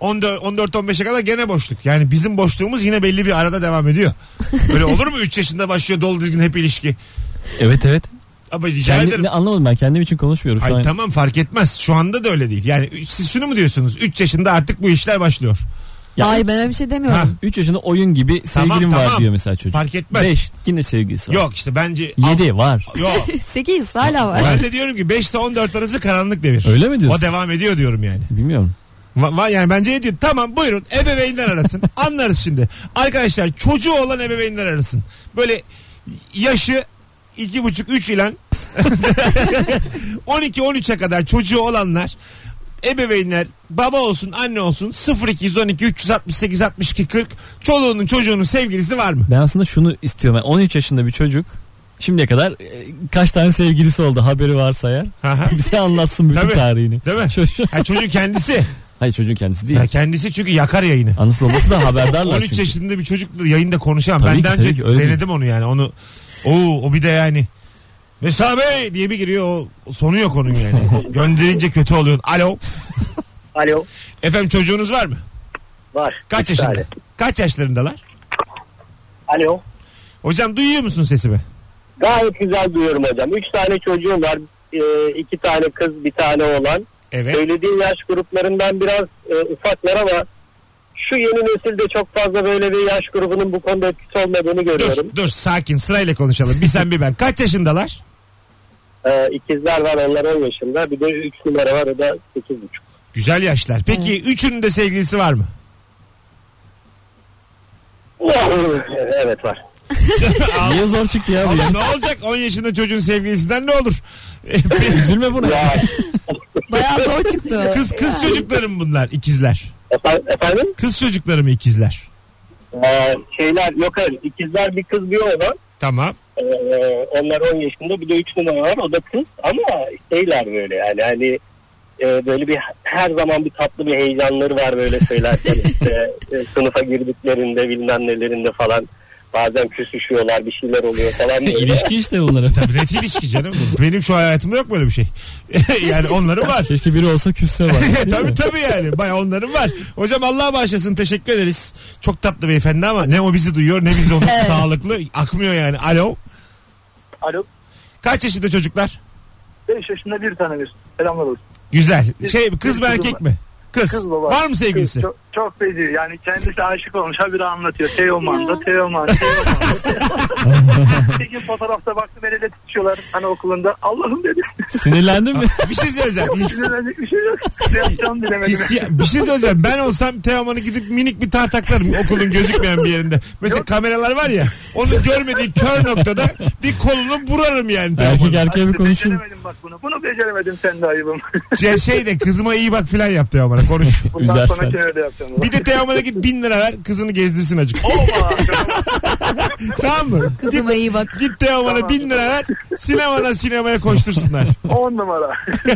14 14 15'e kadar gene boşluk. Yani bizim boşluğumuz yine belli bir arada devam ediyor. Böyle olur mu 3 yaşında başlıyor dolu dizgin hep ilişki?
Evet evet.
Ama rica
Kendi,
ederim.
ne, anlamadım ben kendim için konuşmuyorum. Şu
Ay
an
tamam fark etmez. Şu anda da öyle değil. Yani üç- siz şunu mu diyorsunuz? 3 yaşında artık bu işler başlıyor.
Ya-
Hayır ben öyle bir şey demiyorum.
Ha,
3 yaşında oyun gibi sevgilim var
tamam.
diyor mesela çocuk.
Fark etmez.
5 yine sevgilisi var.
Yok işte bence
7 var.
Yok.
8 hala var.
Ben de diyorum ki 5 ile 14 arası karanlık devir.
Öyle mi diyorsun?
O devam ediyor diyorum yani.
Bilmiyorum.
Va- va- yani bence ediyor. Tamam buyurun ebeveynler arasın. Anlarız şimdi. Arkadaşlar çocuğu olan ebeveynler arasın. Böyle yaşı iki buçuk üç ile 12-13'e kadar çocuğu olanlar ebeveynler baba olsun anne olsun 0212 368 62 40 çoluğunun çocuğunun sevgilisi var mı?
Ben aslında şunu istiyorum. Yani 13 yaşında bir çocuk şimdiye kadar e, kaç tane sevgilisi oldu haberi varsa eğer.
Hı hı.
Bize anlatsın bütün
Tabii.
tarihini.
Değil mi?
Çocuğu-
Ha, çocuğun kendisi.
Hayır çocuğun kendisi değil.
Ya kendisi çünkü yakar yayını.
Anası babası da haberdarlar
13
çünkü.
yaşında bir çocukla yayında konuşan.
Tabii
ben
ki,
daha
tabii
önce
ki, öyle
denedim onu yani. Onu Oo, o bir de yani Mesela Bey diye bir giriyor o sonu yok onun yani. Gönderince kötü oluyorsun. Alo.
Alo.
Efendim çocuğunuz var mı?
Var.
Kaç
Üç
yaşında?
tane.
Kaç yaşlarındalar?
Alo.
Hocam duyuyor musun sesimi?
Gayet güzel duyuyorum hocam. Üç tane çocuğum var. Ee, iki tane kız, bir tane oğlan.
Evet.
Söylediğim yaş gruplarından biraz e, ufaklar ama şu yeni nesilde çok fazla böyle bir yaş grubunun bu konuda etkisi olmadığını görüyorum.
Dur, dur sakin sırayla konuşalım. Bir sen bir ben. Kaç yaşındalar?
Ee, ikizler var onlar 10 yaşında. Bir de 3 numara var o da 8,5.
Güzel yaşlar. Peki üçünün de sevgilisi var mı?
evet var.
Niye zor çıktı ya bu ya?
Oğlum ne olacak 10 yaşında çocuğun sevgilisinden ne olur?
Üzülme buna.
Ya,
Bayağı zor çıktı.
kız kız çocuklarım bunlar ikizler.
efe- efendim?
Kız çocuklarım ikizler.
Ee, şeyler yok hayır. İkizler bir kız bir oğlan.
Tamam.
Ee, onlar 10 yaşında bir de 3 numara var o da kız ama şeyler böyle yani hani e, böyle bir her zaman bir tatlı bir heyecanları var böyle söylerken işte e, sınıfa girdiklerinde bilmem nelerinde falan
Bazen küsüşüyorlar bir şeyler oluyor falan. böyle.
İlişki işte bunlar.
Tabii net ilişki canım. Benim şu hayatımda yok böyle bir şey. yani onların var.
Keşke biri olsa küsse var.
tabii tabii yani. Baya onların var. Hocam Allah bağışlasın. Teşekkür ederiz. Çok tatlı beyefendi ama ne o bizi duyuyor ne biz onu sağlıklı. Akmıyor yani. Alo.
Alo.
Kaç yaşında çocuklar?
5 yaşında bir tane bir. Selamlar olsun.
Güzel.
Kız-
Şey kız
kız
mı erkek
baba.
mi? Kız.
Kız baba.
Var mı sevgilisi?
Çok, çok feci. Yani kendisi aşık olmuş. Habire anlatıyor. Teoman da Teoman. Teoman. bir gün fotoğrafta baktım el ele tutuşuyorlar. Hani okulunda. Allah'ım dedi.
Sinirlendin mi?
Aa, bir şey söyleyeceğim. His-
Sinirlenecek bir şey yok. Ne yapacağımı bilemedim.
hissi- bir şey söyleyeceğim. Ben olsam Teoman'ı gidip minik bir tartaklarım okulun gözükmeyen bir yerinde. Mesela kameralar var ya. Onu görmediği kör noktada bir kolunu burarım yani
Erkek
Teoman'ın.
erkeğe bir konuşayım.
Beceremedim bak bunu. Bunu beceremedim sen de ayıbım.
Şey- Şey de kızıma iyi bak filan yap Teoman'a konuş.
Bundan
Üzersen.
sonra şey öyle yapacağım.
Bir de Teoman'a git bin lira ver kızını gezdirsin acık. tamam mı?
Kızıma iyi bak.
Git Teoman'a bin lira ver sinemadan sinemaya koştursunlar.
10 numara.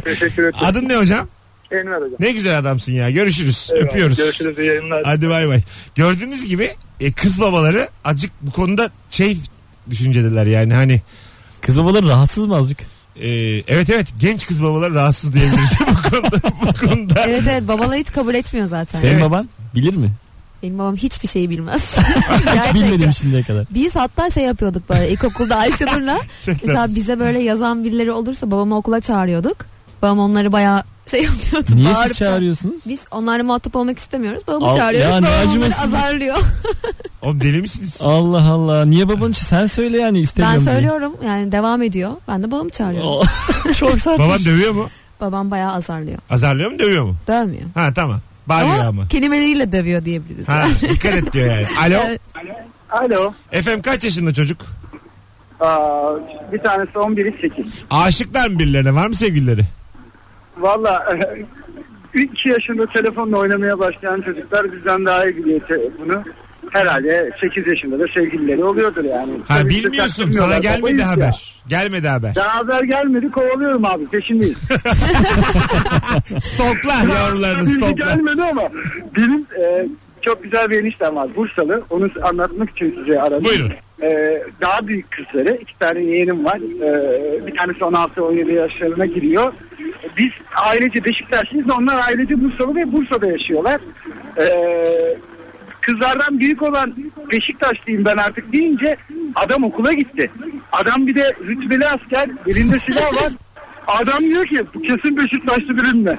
Teşekkür ederim.
Adın ne hocam?
Enver hocam.
Ne güzel adamsın ya. Görüşürüz.
Eyvallah.
Öpüyoruz.
Görüşürüz. iyi yayınlar.
Hadi bay bay. Gördüğünüz gibi e, kız babaları acık bu konuda şey düşüncedeler yani hani
Kız babaları rahatsız mı azıcık?
e, evet evet genç kız babalar rahatsız diyebiliriz bu konuda. Bu konuda.
Evet evet babalar hiç kabul etmiyor zaten.
Senin
Evet.
baban bilir mi?
Benim babam hiçbir şeyi bilmez.
Bilmedim
Gerçekten.
şimdiye kadar.
Biz hatta şey yapıyorduk böyle ilkokulda Ayşenur'la.
Çok
Mesela
tatlı.
bize böyle yazan birileri olursa babamı okula çağırıyorduk. Babam onları bayağı şey yapıyordu.
Niye
bağırıp
siz çağırıyorsunuz?
Biz onlarla muhatap olmak istemiyoruz. Babamı
Al-
çağırıyoruz.
Ya ne
babam onları
acımasız.
azarlıyor.
Oğlum deli misiniz? siz?
Allah Allah. Niye babanın için? Sen söyle yani
Ben
istemiyorum. diye.
söylüyorum yani devam ediyor. Ben de babamı çağırıyorum.
O- Çok sert.
Baban dövüyor mu?
Babam bayağı azarlıyor.
Azarlıyor mu dövüyor mu?
Dövmüyor.
Ha tamam. Bağırıyor ama.
Ama, kelimeleriyle dövüyor diyebiliriz.
Ha dikkat et diyor yani. Alo.
Evet.
Alo.
Efendim kaç yaşında çocuk?
Aa, bir tanesi 11'i 8.
Aşıklar mı birilerine? Var mı sevgilileri?
Valla 3 yaşında telefonla oynamaya başlayan çocuklar bizden daha iyi biliyor te- bunu. Herhalde 8 yaşında da sevgilileri oluyordur yani.
Ha
Tabii ki
bilmiyorsun. Sana
çaktırmıyorlar. Babayız
gelmedi
ya.
haber. Gelmedi haber.
Daha haber gelmedi kovalıyorum abi peşindeyiz.
Stalkla yavrularını
Bilgi
stalkla.
gelmedi ama benim e, çok güzel bir eniştem var Bursalı. Onu anlatmak için size aradım.
Buyurun.
E, daha büyük kızları iki tane yeğenim var. E, bir tanesi 16-17 yaşlarına giriyor. E, Biz ailece Beşiktaşlıyız. Onlar ailece Bursalı ve Bursa'da yaşıyorlar. E, kızlardan büyük olan Beşiktaşlıyım ben artık deyince adam okula gitti. Adam bir de rütbeli asker elinde silah var. Adam diyor ki "Bu kesin Beşiktaşlı birinle.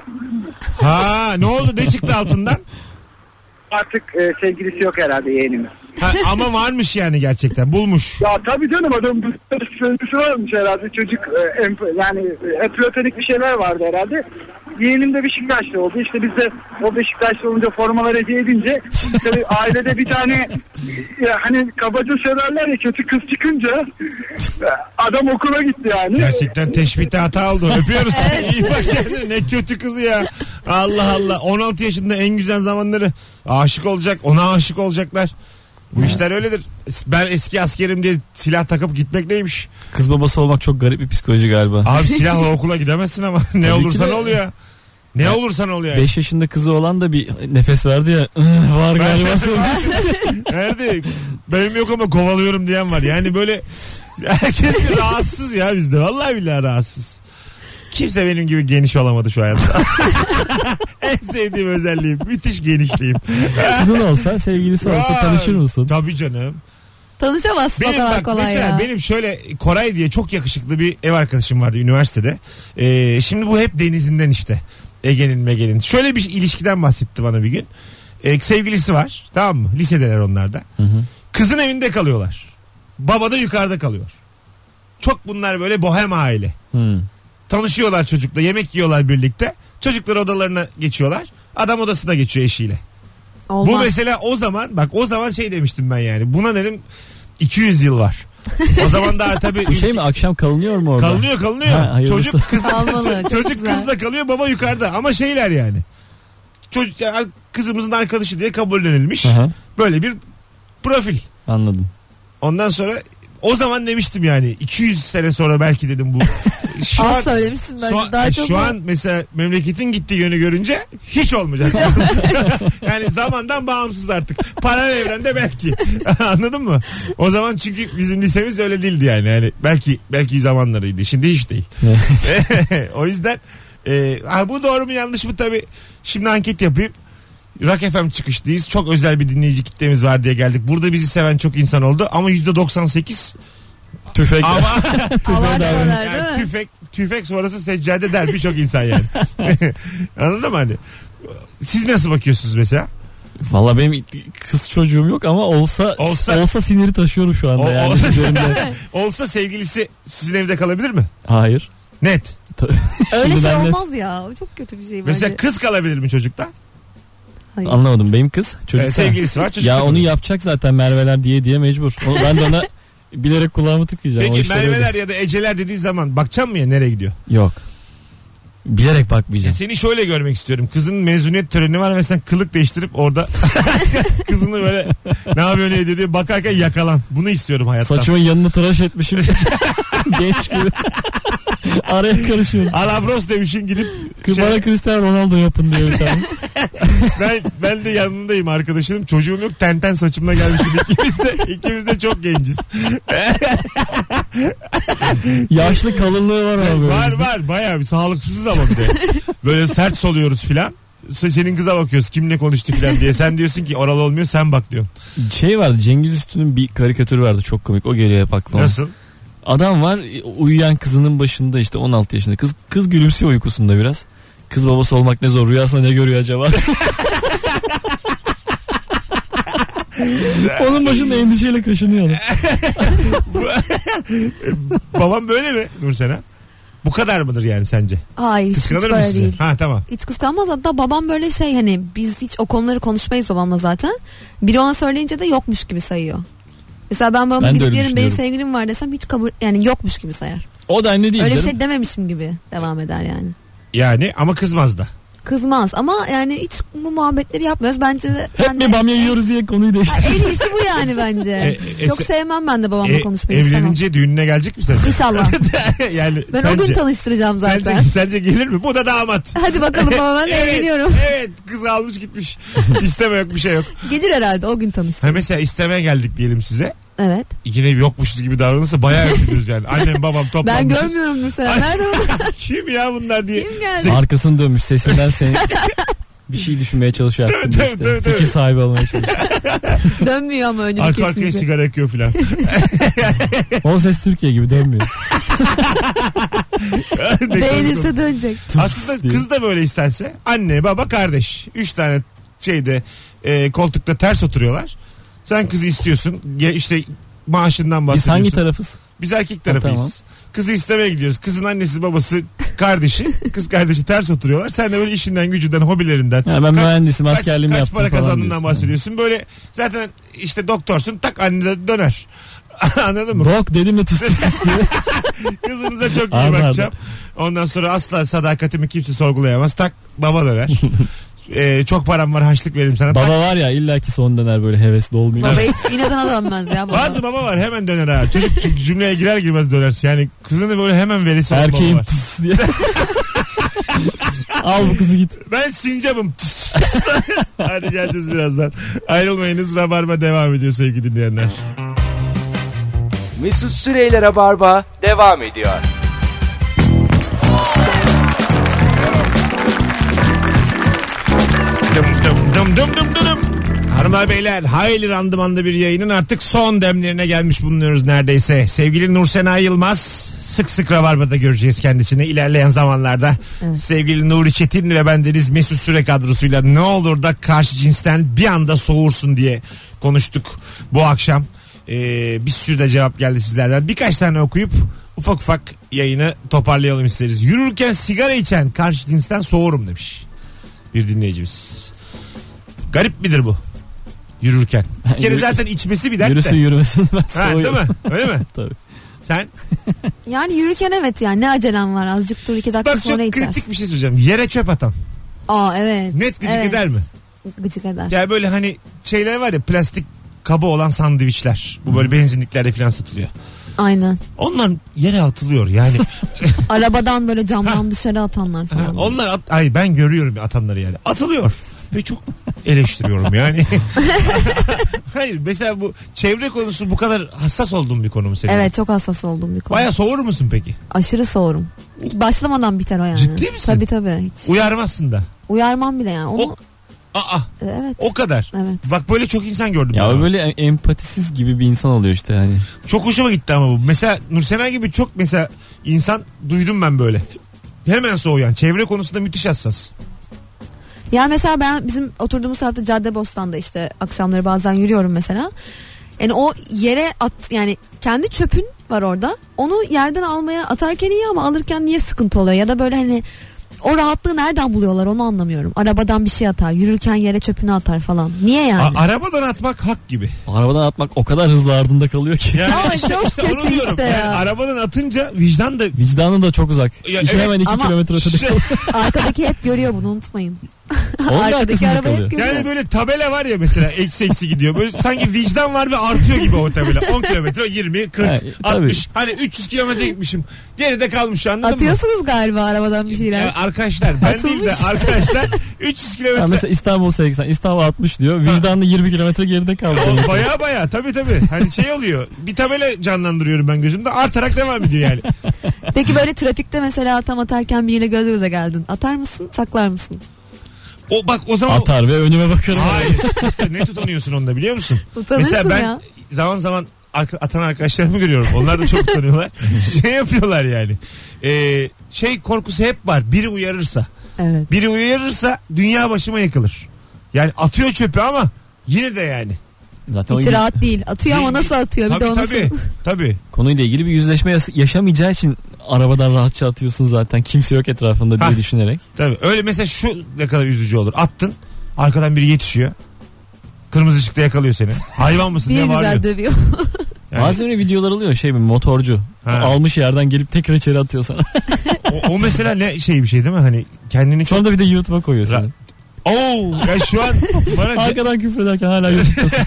Ha ne oldu? Ne çıktı altından?
Artık e, sevgilisi yok herhalde yeğenimin.
Ha, ama varmış yani gerçekten. Bulmuş.
Ya tabii canım adam bu- sevgilisi varmış herhalde. Çocuk e, em- yani e, platonik bir şeyler vardı herhalde. Yeğenim de Beşiktaşlı oldu. İşte biz de o Beşiktaşlı olunca formalar hediye edince tabii ailede bir tane ya hani kabaca söylerler ya kötü kız çıkınca e, adam okula gitti yani.
Gerçekten teşbihte hata oldu. Öpüyoruz. İyi bak kendine. Ne kötü kızı ya. Allah Allah. 16 yaşında en güzel zamanları. Aşık olacak. Ona aşık olacaklar. Bu işler öyledir. Ben eski askerim diye silah takıp gitmek neymiş?
Kız babası olmak çok garip bir psikoloji galiba.
Abi silahla okula gidemezsin ama ne
Tabii ki
olursan
de.
ol ya. Ne olursan ol yani.
5 yaşında kızı olan da bir nefes verdi ya. "Ih, Var galiba sevgilisi.
Nerede? Benim yok ama kovalıyorum diyen var. Yani böyle herkes bir rahatsız ya bizde. Vallahi billahi rahatsız. Kimse benim gibi geniş olamadı şu hayatta. en sevdiğim özelliğim. Müthiş genişliğim.
Kızın olsa sevgilisi olsa
Vay.
tanışır mısın?
Tabii canım.
Tanışamazsın o
Benim
kadar
bak
kolay
mesela
ya.
benim şöyle Koray diye çok yakışıklı bir ev arkadaşım vardı üniversitede. Ee, şimdi bu hep denizinden işte. Ege'nin Mege'nin. Şöyle bir ilişkiden bahsetti bana bir gün. Ee, sevgilisi var tamam mı? Lisedeler onlar da. Kızın evinde kalıyorlar. Baba da yukarıda kalıyor. Çok bunlar böyle bohem aile.
Hmm.
Tanışıyorlar çocukla yemek yiyorlar birlikte. Çocuklar odalarına geçiyorlar. Adam odasına geçiyor eşiyle.
Olmaz.
Bu mesela o zaman bak o zaman şey demiştim ben yani. Buna dedim 200 yıl var. O zaman daha tabii
Bu şey mi akşam kalınıyor mu orada?
kalınıyor kalınıyor.
Ha, hayırlısı.
çocuk kız
Kalmalı, çok
çocuk
güzel.
kızla kalıyor baba yukarıda ama şeyler yani. Çocuk yani kızımızın arkadaşı diye kabullenilmiş.
Aha,
Böyle bir profil.
anladım.
Ondan sonra O zaman demiştim yani 200 sene sonra belki dedim bu. Şu
Az
an,
söylemişsin bence.
şu, an- e,
Daha çok
şu an mesela memleketin gittiği yönü görünce hiç olmayacak. yani zamandan bağımsız artık. Paralel evrende belki. Anladın mı? O zaman çünkü bizim lisemiz öyle değildi yani. yani belki belki zamanlarıydı. Şimdi hiç değil. o yüzden e, ha, bu doğru mu yanlış mı tabii. Şimdi anket yapayım. Rock FM çıkışlıyız. Çok özel bir dinleyici kitlemiz var diye geldik. Burada bizi seven çok insan oldu ama %98
Tüfek.
ama
Allah
yani
değil mi?
tüfek tüfek sonrası seccade der birçok insan yani. Anladın mı hani? Siz nasıl bakıyorsunuz mesela?
Valla benim kız çocuğum yok ama olsa
Olsa-
olsa, siniri taşıyorum şu anda
O-
yani.
o-
Üzerimde.
Olsa sevgilisi sizin evde kalabilir mi?
Hayır.
Net.
Öyle
Şimdi
şey
ben net-
olmaz ya. O çok kötü bir şey bence.
Mesela kız kalabilir mi çocukta?
Hayır.
Anlamadım benim kız. Çocuk
Ee,
da-
sevgilisi var çocuk.
Ya
da
onu
kalıyor.
yapacak zaten Merveler diye diye mecbur. O, ben de ona bilerek kulağımı tıkayacağım. O
Peki
işler öyle.
Merveler ya da Eceler dediği zaman bakacak mı ya nereye gidiyor?
Yok. Bilerek bakmayacağım.
Seni şöyle görmek istiyorum. Kızın mezuniyet töreni var ve sen kılık değiştirip orada kızını böyle ne yapıyor ne ediyor diye bakarken yakalan. Bunu istiyorum hayattan.
Saçımın yanını tıraş etmişim. Genç gibi. Araya karışıyorum.
Alabros demişin gidip
Kız
şey-
Bana Cristiano Ronaldo yapın diyor bir tane.
ben ben de yanındayım arkadaşım. Çocuğum yok tenten saçımla gelmişim. İkimiz de, ikimiz de çok genciz.
Yaşlı kalınlığı var abi.
var var bayağı bir sağlıksızız ama bir de. Böyle sert soluyoruz filan. Se- Senin kıza bakıyoruz kimle konuştu filan diye. Sen diyorsun ki oralı olmuyor sen bak diyorsun.
Şey vardı Cengiz Üstü'nün bir karikatürü vardı çok komik. O geliyor hep aklıma.
Nasıl?
Adam var uyuyan kızının başında işte 16 yaşında kız kız gülümsüyor uykusunda biraz. Kız babası olmak ne zor rüyasında ne görüyor acaba? Onun başında endişeyle kaşınıyor. adam.
Babam böyle mi Nursena? Bu kadar mıdır yani sence?
Hayır hiç, hiç
Kıskanır mı
böyle
sizi?
değil.
Ha tamam.
Hiç kıskanmaz hatta babam böyle şey hani biz hiç o konuları konuşmayız babamla zaten. Biri ona söyleyince de yokmuş gibi sayıyor. Mesela ben babama
Ben de
gidip
öyle
yarın benim
düşünüyorum.
sevgilim var desem hiç kabul yani yokmuş gibi sayar.
O da anne değil
Öyle bir
canım.
şey dememişim gibi devam eder yani.
Yani ama kızmaz da.
Kızmaz ama yani hiç bu muhabbetleri yapmıyoruz. Bence de ben
Hep
de-
bir bamya yiyoruz diye konuyu değiştirdim.
en iyisi bu yani bence.
E, e,
Çok
se-
sevmem ben de babamla
E,
konuşmayı. istemem.
evlenince düğününe gelecek mi sen?
İnşallah.
yani
Ben
sence,
o gün tanıştıracağım zaten.
Sence, sence gelir mi? Bu da damat.
Hadi bakalım baba ben
evet,
evleniyorum.
Evet kız almış gitmiş. İsteme yok bir şey yok.
Gelir herhalde o gün
Ha
tanıştım.
mesela istemeye geldik diyelim size.
Evet.
Yine yokmuşuz gibi davranırsa bayağı üzülürüz yani. Annem babam
Ben
toplanmışız.
görmüyorum Nursel.
Ay.
Nerede bu?
Kim ya bunlar diye.
Kim geldi?
Arkasını dönmüş sesinden seni bir şey düşünmeye çalışıyor
Tabii,
aklında
tabii,
işte.
tabii, tabii.
Fikir sahibi olmaya çalışıyor.
Şey,
Dönmüyor ama önünü
Arka arkaya
kesinlikle.
sigara yakıyor filan.
O ses Türkiye gibi dönmüyor.
Ne
Beğenirse
kadar-
dönecek.
Aslında kız da böyle istense anne baba kardeş. Üç tane şeyde e, koltukta ters oturuyorlar. Sen kızı istiyorsun. Ge- işte maaşından
Biz
bahsediyorsun.
hangi tarafız?
Biz erkek tarafıyız.
tamam.
Kızı istemeye gidiyoruz. Kızın annesi babası kardeşi kız kardeşi ters oturuyorlar. Sen de böyle işinden gücünden hobilerinden.
Ha, ben
kaç-
mühendisim
kaç-
askerliğimi
kaç
yaptım
para
falan
kazandığından
diyorsun.
bahsediyorsun. Böyle zaten işte doktorsun tak anne de döner. Anladın mı?
Bok dedim de tıs tıs tıs diye.
Kızınıza çok iyi
Anladım.
bakacağım. Ondan sonra asla sadakatimi kimse sorgulayamaz. Tak baba döner. Ee, çok param var haçlık veririm sana. Tak,
Baba var ya illaki son döner böyle hevesli olmuyor.
Baba hiç inadına dönmez ya. Baba.
Bazı baba var hemen döner ha. Çocuk çünkü cümleye girer girmez döner. Yani kızını böyle hemen verirse baba
Erkeğim
var.
tıs diye. Al bu kızı git.
Ben sincapım. Hadi geleceğiz birazdan. Ayrılmayınız. Rabarba devam ediyor sevgili dinleyenler.
Mesut Süreyler'e barba devam ediyor.
Dım dım dım dım dım dım dım. Hanımlar beyler hayli randımanlı bir yayının artık son demlerine gelmiş bulunuyoruz neredeyse. Sevgili Nursena Yılmaz sık sık Rabarba'da göreceğiz kendisini ilerleyen zamanlarda. Sevgili Nuri Çetin ve bendeniz Mesut Süre kadrosuyla ne olur da karşı cinsten bir anda soğursun diye konuştuk bu akşam. Ee, bir sürü de cevap geldi sizlerden. Birkaç tane okuyup ufak ufak yayını toparlayalım isteriz. Yürürken sigara içen karşı cinsten soğurum demiş bir dinleyicimiz. Garip midir bu? Yürürken. Bir kere
Yürü-
zaten içmesi bir dert de.
Yürüsün yürümesin ben
Ha, değil
soğuyorum.
mi? Öyle mi?
Tabii.
Sen
Yani yürürken evet yani ne acelem var azıcık dur iki dakika
bak çok
sonra
kritik
içersin.
bir şey söyleyeceğim. Yere çöp atan.
Aa evet.
Net gıcık
evet.
eder mi?
Gıcık eder.
Yani böyle hani şeyler var ya plastik kaba olan sandviçler. Bu böyle benzinliklerde filan satılıyor.
Aynen.
Onlar yere atılıyor yani.
Arabadan böyle camdan dışarı atanlar
Ha,
falan.
Onlar at, ay ben görüyorum atanları yani. Atılıyor. Ve çok eleştiriyorum yani. Hayır mesela bu çevre konusu bu kadar hassas olduğum bir konu mu senin?
Evet çok hassas olduğum bir konu.
Baya soğur musun peki?
Aşırı soğurum. Hiç başlamadan biter o yani.
Ciddi misin?
Tabii tabii. Hiç.
Uyarmazsın da.
Uyarmam bile yani. Onu,
O- Aa
evet.
o kadar.
Evet.
Bak böyle çok insan gördüm.
Ya
ben.
o böyle em- empatisiz gibi bir insan oluyor işte hani.
Çok hoşuma gitti ama bu. Mesela Nursena gibi çok mesela insan duydum ben böyle. Hemen soğuyan. Çevre konusunda müthiş hassas.
Ya mesela ben bizim oturduğumuz tarafta Caddebostan'da işte akşamları bazen yürüyorum mesela. Yani o yere at yani kendi çöpün var orada. Onu yerden almaya atarken iyi ama alırken niye sıkıntı oluyor? Ya da böyle hani o rahatlığı nereden buluyorlar onu anlamıyorum. Arabadan bir şey atar, yürürken yere çöpünü atar falan. Niye
A-
yani?
arabadan atmak hak gibi.
Arabadan atmak o kadar hızlı ardında kalıyor ki.
Yani
Ama çok kötü işte ya.
arabadan atınca vicdan da
Vicdanı da çok uzak.
Ya
İşte
evet,
hemen 2
ama-
kilometre ötede.
Şey,
Arkadaki hep görüyor bunu unutmayın.
Onun da
Arkadaki
arkasında
araba hep
kalıyor.
görüyor.
yani böyle tabela var ya mesela eksi eksi gidiyor. Böyle sanki vicdan var ve artıyor gibi o tabela. 10 kilometre 20, 40,
Ha,
60. Hani 300 kilometre gitmişim. Geride kalmış anladın mı?
Atıyorsunuz galiba arabadan bir şeyler.
Ya arkadaşlar ben değil de
Atılmış.
arkadaşlar 300
Ya
kilometre
mesela İstanbul 80, İstanbul 60 diyor. Vicdanlı 20 kilometre geride kaldı.
O baya baya tabii tabii. Hani şey oluyor. Bir tabela canlandırıyorum ben gözümde. Artarak devam ediyor yani.
Peki böyle trafikte mesela tam atarken biriyle göz göze geldin. Atar mısın, saklar mısın?
O bak o zaman
Atar ve önüme bakarım.
Hayır. işte ne tutunuyorsun onda biliyor musun?
Utanırsın
Mesela ben
ya.
zaman zaman arka- atan arkadaşlarımı görüyorum. Onlar da çok utanıyorlar. şey yapıyorlar yani. Ee, şey korkusu hep var. Biri uyarırsa.
Evet.
Biri uyarırsa dünya başıma yakılır. Yani atıyor çöpü ama yine de yani.
Zaten o
Hiç
yüz-
rahat değil. Atıyor ama
Değil,
nasıl atıyor? Bir de
Tabii
onu
tabii. Tabii.
konuyla ilgili bir yüzleşme yas- yaşamayacağı için arabadan rahatça atıyorsun zaten. Kimse yok etrafında diye
Ha.
düşünerek.
Tabii. Öyle mesela şu ne kadar üzücü olur. Attın. Arkadan biri yetişiyor. Kırmızı ışıkta yakalıyor seni. Hayvan mısın?
bir
ne var?
güzel dövüyor.
Yani-
Bazen öyle videolar oluyor şey mi motorcu.
Ha.
Almış yerden gelip tekrar içeri atıyor sana.
O, o mesela ne şey bir şey değil mi? Hani kendini çok...
Sonra da bir de YouTube'a koyuyor
Ra-
seni.
Oo, ya şu an bana
Arkadan küfür ederken hala YouTube'dasın.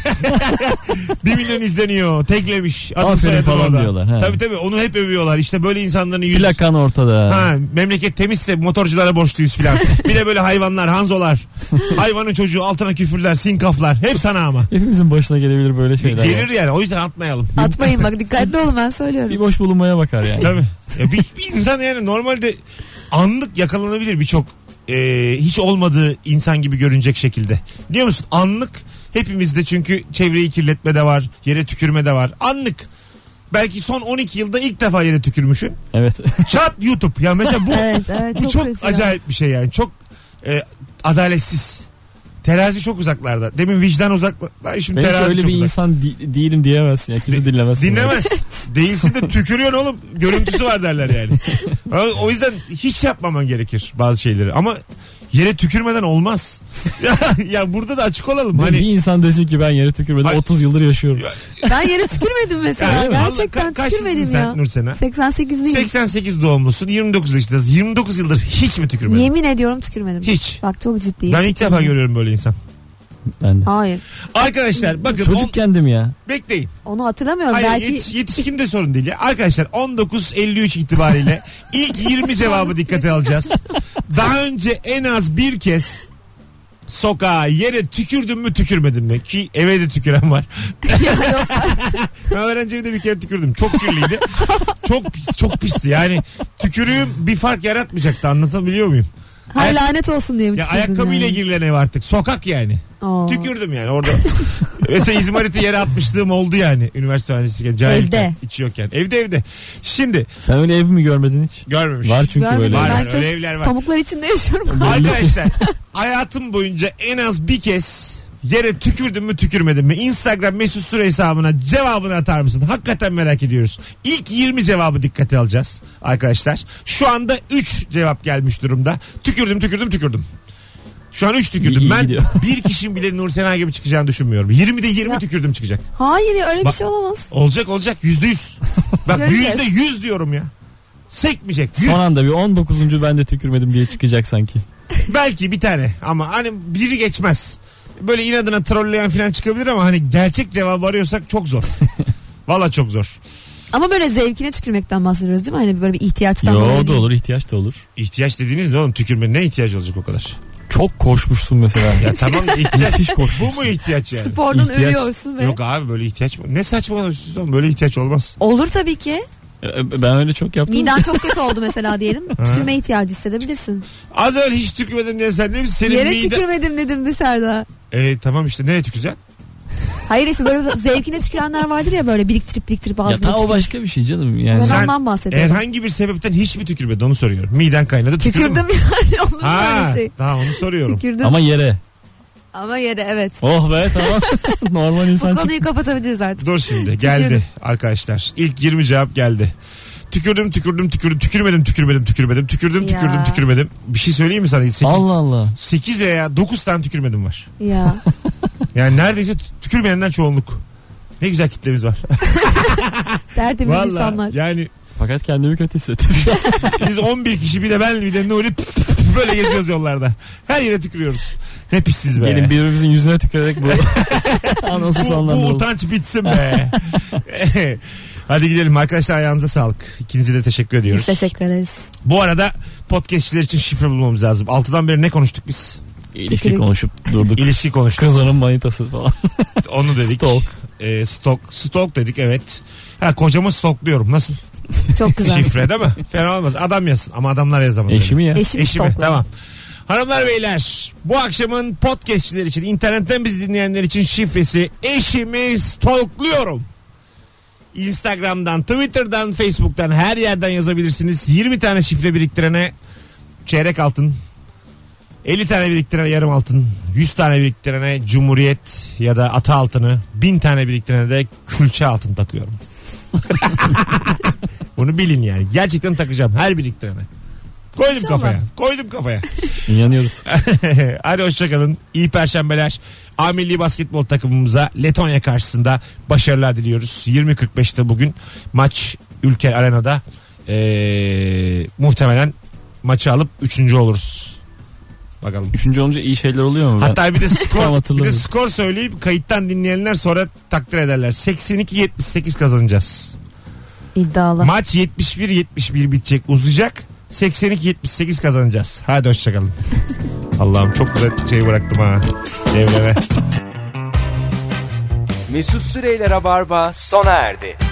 1 milyon izleniyor. Teklemiş. Adım
Aferin
soyadım
falan
orada.
diyorlar, he.
Tabii tabii onu hep övüyorlar. İşte böyle insanların yüzü.
Plakan ortada.
Ha, memleket temizse motorculara borçluyuz filan. bir de böyle hayvanlar, hanzolar. Hayvanın çocuğu altına küfürler, sinkaflar. Hep sana ama.
Hepimizin başına gelebilir böyle şeyler.
Gelir yani o yüzden atmayalım.
Atmayın bak dikkatli olun ben söylüyorum.
Bir boş bulunmaya bakar yani.
Tabii. Ya bir, bir insan yani normalde anlık yakalanabilir birçok e, hiç olmadığı insan gibi görünecek şekilde. Biliyor musun? Anlık hepimizde çünkü çevreyi kirletme de var, yere tükürme de var. Anlık. Belki son 12 yılda ilk defa yere tükürmüşüm.
Evet.
Çat YouTube. Ya mesela bu
Evet evet
bu çok,
çok, kötü ya.
acayip bir şey yani. Çok e, adaletsiz. Terazi çok uzaklarda. Demin vicdan uzaklarda. Şimdi
Ben hiç
terazi
öyle
çok
bir
uzak.
insan di- değilim diyemezsin. Ya kimse
Di-
dinlemez.
Dinlemez. Değilsin de tükürüyorsun oğlum. Görüntüsü var derler yani. O- O yüzden hiç yapmaman gerekir bazı şeyleri. Ama yere tükürmeden olmaz. ya, ya burada da açık olalım.
Hani...
Hani
Bir insan desin ki ben yere tükürmedim
Ay-
30 yıldır yaşıyorum.
Ben yere tükürmedim mesela.
Yani
Gerçekten
Allah- ka- kaçlısın
tükürmedim
sen
ya.
Nursena?
88'liyim.
88 doğumlusun. 29 yaşındasın. 29 yıldır hiç mi tükürmedin?
Yemin ediyorum tükürmedim.
Hiç.
Bak çok ciddiyim.
Ben ilk defa
tükürmedim.
görüyorum böyle insan.
Ben de.
Hayır.
Arkadaşlar bakın on-
Çocuk kendim ya.
bekleyin.
Onu hatırlamıyorum.
Hayır
Belki
yetiş- yetişkin de sorun değil ya. Arkadaşlar 19.53 itibariyle ilk 20 cevabı dikkate alacağız. Daha önce en az bir kez sokağa yere tükürdün mü tükürmedin mi? Ki eve de tüküren var. ben öğrenci evde bir kere tükürdüm. Çok kirliydi. çok pis, çok pisti. Yani tükürüğüm bir fark yaratmayacaktı. Anlatabiliyor muyum?
hay
Ayak-
lanet olsun diye mi
Ya
tükürdün
ayakkabıyla
yani?
girilen ev artık. Sokak yani.
Oo.
Tükürdüm yani orada. Mesela İzmarit'i yere atmışlığım oldu yani. Üniversite öğrencisiyken. Cahilken,
Evde.
içi yokken. Evde evde. Şimdi
Sen öyle ev mi görmedin hiç?
görmemiş.
Var çünkü
Görmedim.
böyle.
Var,
Ben
var,
çok
öyle evler var.
Pamuklar içinde yaşıyorum.
Arkadaşlar hayatım boyunca en az bir kez yere tükürdün mü tükürmedin mi? Instagram mesut süre hesabına cevabını atar mısın? Hakikaten merak ediyoruz. İlk 20 cevabı dikkate alacağız arkadaşlar. Şu anda 3 cevap gelmiş durumda. Tükürdüm tükürdüm tükürdüm. Şu an 3 tükürdüm.
İyi
ben
gidiyor.
bir kişinin bile Nur Sena gibi çıkacağını düşünmüyorum. 20'de 20
Ya.
tükürdüm çıkacak.
Hayır ya, öyle bir
Bak-
şey olamaz.
Olacak olacak yüzde yüz. Bak
Göreceğiz.
yüzde yüz diyorum ya. Sekmeyecek. Yüz.
Son anda bir 19. ben de tükürmedim diye çıkacak sanki.
Belki bir tane ama hani biri geçmez. böyle inadına trolleyen falan çıkabilir ama hani gerçek cevabı arıyorsak çok zor. Valla çok zor.
Ama böyle zevkine tükürmekten bahsediyoruz değil mi? Hani böyle bir ihtiyaçtan
Yo
dolayı
da
değil.
olur ihtiyaç da olur.
İhtiyaç dediğiniz ne oğlum tükürme ne ihtiyacı olacak o kadar?
Çok koşmuşsun mesela.
Ya tamam da ihtiyaç.
Müthiş
Bu
koşmuşsun.
mu ihtiyaç yani?
Spordan
İhtiyaç-
ölüyorsun ve...
Yok abi böyle ihtiyaç mı? Ne saçmalıyorsunuz oğlum böyle ihtiyaç olmaz.
Olur tabii ki.
E, Ben öyle çok yaptım.
Miden çok kötü oldu mesela diyelim. Tükürme ihtiyacı hissedebilirsin.
Az evvel hiç tükürmedim diye sen ne bileyim senin
Yere
mide-
tükürmedim dedim dışarıda.
E, tamam işte nereye tüküreceksin?
Hayır işte böyle zevkine tükürenler vardır ya böyle biriktirip biriktirip
Ya
ağzına
ta o
tükürüyor.
başka bir şey canım yani.
Ben
Sen-
ondan bahsediyorum.
Herhangi bir sebepten hiç mi tükürmedin onu soruyorum. Miden kaynadı tükürdün mü?
Tükürdüm yani olur mu
Ha,
öyle şey.
tamam onu soruyorum.
Tükürdüm ama,
Ama yere.
yere evet.
Oh be tamam. Normal
Bu
insan çık.
konuyu kapatabiliriz artık.
Dur şimdi geldi arkadaşlar. İlk 20 cevap geldi. Tükürdüm tükürdüm tükürdüm tükürmedim tükürmedim tükürmedim tükürdüm tükürdüm
Ya.
tükürmedim. Bir şey söyleyeyim mi sana? 8,
Allah Allah.
8 veya 9 tane tükürmedim var.
Ya.
Yani neredeyse t- tükürmeyenler çoğunluk. Ne güzel kitlemiz var.
Dertimiz
Valla
insanlar.
yani
Fakat kendimi kötü hissettim.
biz 11 kişi bir de ben bir de Nuri böyle geziyoruz yollarda. Her yere tükürüyoruz. Ne pissiz be.
Gelin birbirimizin yüzüne tükürerek bu anonsu
bu, bu
sonlandıralım.
utanç bitsin be. Hadi gidelim arkadaşlar ayağınıza sağlık. İkinize de teşekkür ediyoruz.
Biz teşekkür ederiz.
Bu arada podcastçiler için şifre bulmamız lazım. Altıdan beri ne konuştuk biz?
İlişki
Tükürük.
konuşup durduk.
İlişki konuştuk.
Kızının manitası falan.
Onu dedik.
Stalk.
Ee, stok. Stok dedik evet. Ha kocamı stokluyorum. Nasıl?
Çok güzel.
Şifre değil mi? Fena olmaz. Adam yazsın ama adamlar yazamaz.
Eşimi ya.
Eşimi,
Eşimi.
stokla.
Tamam. Hanımlar beyler bu akşamın podcastçiler için internetten bizi dinleyenler için şifresi eşimi stalkluyorum. Instagram'dan, Twitter'dan, Facebook'tan her yerden yazabilirsiniz. 20 tane şifre biriktirene çeyrek altın, 50 tane biriktirene yarım altın, 100 tane biriktirene cumhuriyet ya da ata altını, 1000 tane biriktirene de külçe altın takıyorum. Bunu bilin yani. Gerçekten takacağım her biriktirene. Koydum
İnşallah.
kafaya. Koydum kafaya.
İnanıyoruz.
Hadi hoşçakalın. İyi perşembeler. A milli basketbol takımımıza Letonya karşısında başarılar diliyoruz. 20.45'te bugün maç Ülker Arena'da. Ee, muhtemelen maçı alıp 3. oluruz. Bakalım.
Üçüncü olunca iyi şeyler oluyor mu? Ben-
Hatta bir de
Tam
skor bir de
hatırlamıyorum.
skor söyleyip kayıttan dinleyenler sonra takdir ederler. 82-78 kazanacağız.
İddialı.
Maç 71-71 bitecek uzayacak. 82-78 kazanacağız. Hadi hoşçakalın. Allah'ım çok güzel şey bıraktım ha. Devreme.
Mesut Süreyler'e barba sona erdi.